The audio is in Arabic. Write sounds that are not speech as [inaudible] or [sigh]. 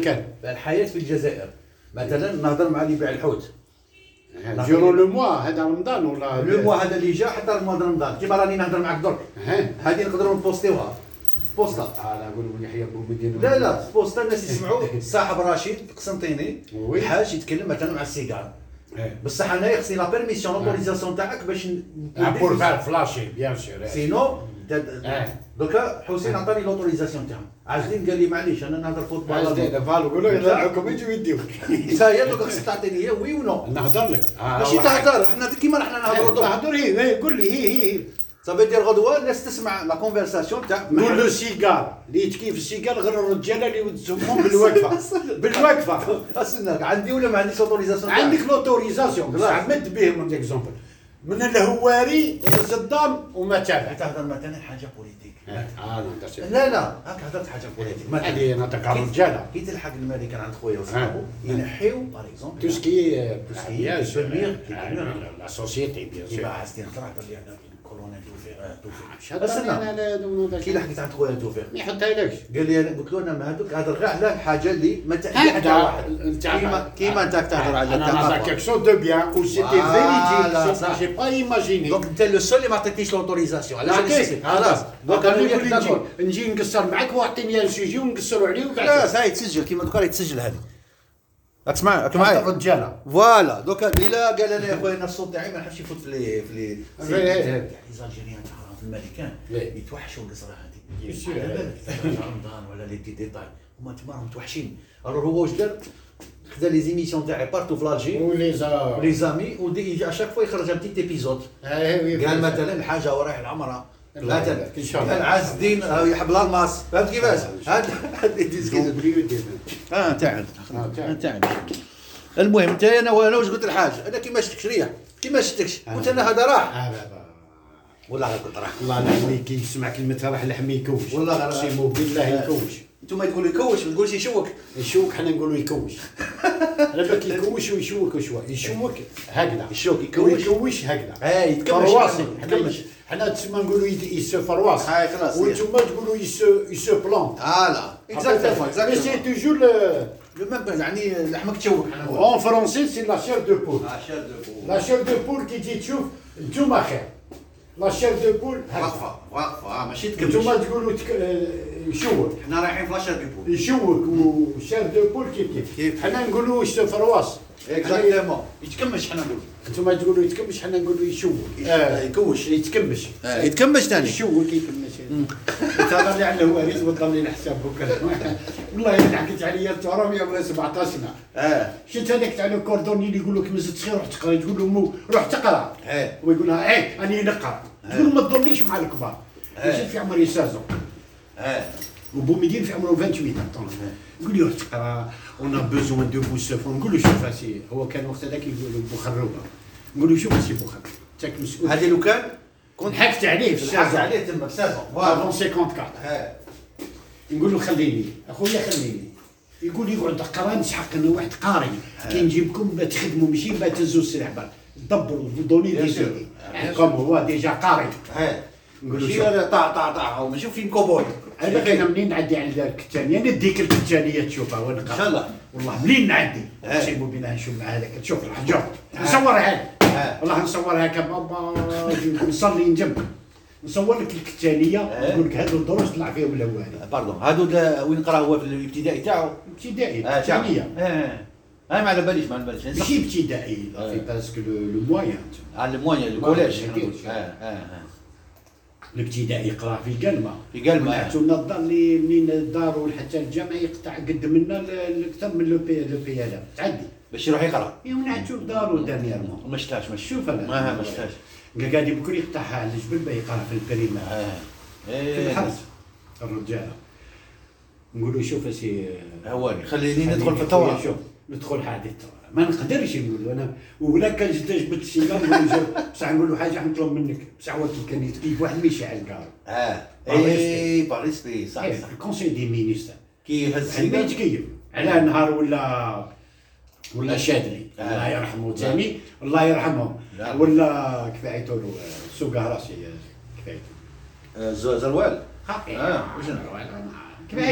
كان الحياه في الجزائر مثلا نهضر مع اللي يبيع الحوت ديرو لو موا هذا رمضان ولا لو موا هذا اللي جا حضر موا رمضان كيما راني نهضر معك درك ها آه، هذه نقدروا نبوستيوها بوستا انا نقول لك يحيى بومدين لا لا بوستا الناس [laughs] يسمعوا صاحب رشيد القسنطيني وي. إيه. الحاج يتكلم مثلا مع السيجار بصح انا خصني لا بيرميسيون لوتوريزاسيون تاعك باش ن- بور فار فلاشي بيان سور سينو دا- دا- إيه. دوكا حسين عطاني لوتوريزاسيون تاعهم عازلين قال لي معليش انا نهضر فوتبول على عزيز طول. فالو قولوا يطلعوكم يجوا [laughs] يديوك انت هي دوكا خصك تعطيني هي وي ونو نهضر لك ماشي تهضر احنا كيما احنا نهضروا دوك نهضر هي إيه، هي، قول لي هي هي هي صافي دير غدوه الناس تسمع لا كونفرساسيون تاع قول [laughs] له سيجار اللي يتكيف السيجار غير الرجاله اللي يتسمون [laughs] بالوقفه بالوقفه اسنك عندي ولا ما عنديش اوتوريزاسيون عندك لوتوريزاسيون بصح مد به من اكزومبل من الهواري الصدام وما تابع تهضر مثلا حاجه بوليتيك اه نهضر لا لا هاك هضرت حاجه بوليتيك مثلا هذه نهضر على كي- الرجاله كي تلحق الملك عند خويا وصاحبو آه. ينحيو باغ اكزومبل Tout ce qui est qui est devenir, qui devenir. la société, bien sûr. كيما حسيتي نهضر لي انا كولونيل توفيق مش توفيق هضرني استنى أنا على دون هذا كي الشيء. لحقت عند خويا توفيق ما يحطهالكش. قال لي انا قلت له انا ما هذوك هضر غير على الحاجه اللي ما تحكي حتى هكذا واحد انت كيما كيما انت تهضر على انا نعطيك الثقافه quelque chose de bien ou c'était Voilà, véridique ça. j'ai pas imaginé دونك انت لو سول اللي ما عطيتنيش لوتوريزاسيون علاش نعطيك خلاص خلاص دونك دوك انا انا وياك يقول لي نجي داكور. نجي نقصر معاك واعطيني ان سيجي ونقصروا عليه وبعد خلاص هاي تسجل كيما دوكا راهي تسجل هذه راك تسمع راك معايا الرجاله فوالا دوكا ليلى قال انا يا خويا انا الصوت تاعي ما نحبش يفوت في لي في لي إيه، إيه، إيه. الجيريان تاع في الملكان إيه. يتوحشوا القصره هذه يسير. على بالك رمضان ولا لي دي ديتاي هما تما راهم متوحشين الوغ هو واش دار خدا لي زيميسيون تاعي بارتو في لالجي ولي زا لي زامي ودي اشاك فوا يخرج ان بتيت ايبيزود قال مثلا الحاجه ورايح العمره لا، مثلا إن شاء الله. قال عز الدين آه، يحب الالماس فهمت كيفاش؟ إن شاء هاد هاد الديسكيزم. اه تعال آه، تعال. تعال المهم انت انا انا واش قلت الحاج انا كيما شفتك ريح كيما شفتكش آه. قلت انا هذا راح والله غير قلت راح الله لا يحميك يسمع كلمة راح لحم يكوش والله غير- اقسم بالله يكوش انتم تقولوا يكوش ما تقولش يشوك يشوك حنا نقولوا [laughs] يكوش على بالك يكوش ويشوك وشوا يشوك هكذا يشوك، يكوش. ويكوش هكذا هاي تكمش فرواصي حنا تكمش حنا تسمى نقولوا يد- يسو فرواصي هاي خلاص. وانتوما تقولوا يسو يسو بلون فوالا اكزاكتومون مي سي اكزاكتومون توجور ل- لو ميم يعني لحمك تشوك حنا هو اون فرونسي سي لا شير دو بول لا شير دو بول كي تجي تشوف انتوما خير لا شير دو بول هكذا واقفه واقفه آه، ماشي انتوما تكمش تقولوا تك- آه، يشوك حنا رايحين في لاشار دو بول يشوك وشار دو بول كيف كيف. كيف حنا نقولوا يشتو فرواص اكزاكتومون يتكمش حنا نقولوا انتم تقولوا يتكمش حنا نقولوا يشوك آه، يكوش يتكمش يتكمش ثاني يشوك يتكمش تهضر لي على الهواريز وتضل لي الحساب بكره والله الا حكيت عليا التراب يا بلا 17 سنه اه شفت هذاك تاع لو كوردوني اللي يقول لك مازلت صغير روح تقرا تقول له مو روح تقرا إيه. ويقول لها ايه راني نقرا تقول له ما تضلنيش مع الكبار إيه. جيت في عمري سازون اه وبومدين في عمره 28 طن يقول لي روح تقرا اون ا بوزوان دو بوسفون نقول له شوف سي هو كان وقت هذاك يقول بوخروبه نقول له شوف سي بوخروبه تاك مسؤول هذه لو كان كنت حكت عليه في حاجة الشارع عليه تما بسازون افون فوالا 54 اه نقول له خليني اخويا خليني يقول لي يقعد قرا نسحق انا واحد قاري كي نجيبكم ما تخدموا ماشي ما تهزوا السلعبه دبروا دوني Bien دي sûr. سوري كوم هو ديجا قاري اه نقول له ماشي شوف. هذا طاع طاع طاع هو ماشي فيلم كوبوي انا غير منين نعدي على دار الكتانيه نديك الكتانيه تشوفها ونقرا إن شاء الله. والله منين نعدي إيه. نسيبو بينا نشوف مع هذاك تشوف الحجر نصورها إيه. والله نصورها كبابا نصلي نجم نصور لك الكتانيه إيه. نقول لك هذو الدروس طلع فيهم الاوائل باردون آه، هادو دا- وين قرا هو في الابتدائي تاعو ابتدائي اه تاعو كتانيه اه انا ما على باليش ما على باليش ماشي ابتدائي لا، في إيه. باسكو لو موان على الموانيا الكوليج ما- احنا نقول. ما- اه اه اه الابتدائي يقرا في قلمه في قلمة. ونعتونا الدار اللي منين الدار وحتى الجامع يقطع قد منا اكثر من لو بي لو بي ال تعدي باش يروح يقرا يوم نعتو دارو دانييرمون ما شتاش ما شتاش. شوف انا ما ما شتاش قال قاعد بكري يقطعها على الجبل باه يقرا في البريمة اه في ايه الحرس الرجاله نقول له شوف سي هواني خليني إيه، ندخل في التوراة التوراة شوف ندخل هذه التوراة ما نقدرش نقول له انا ولا كان جد جبت السيجار ولا نجيب. بصح نقول له حاجه حنطلب منك بصح هو كي كان يتقيك واحد ما يشعل كارو اه باريس بي. ايه باريس بي صح صح الكونسي طيب، دي مينيستر كي يهز عندنا سيدي يتكيف على نهار ولا ولا شادلي الله يرحمه ثاني الله يرحمهم لا. ولا كفايته له سوق راسي كفايته آه، ز- زروال خاطئ اه وشنو كفايته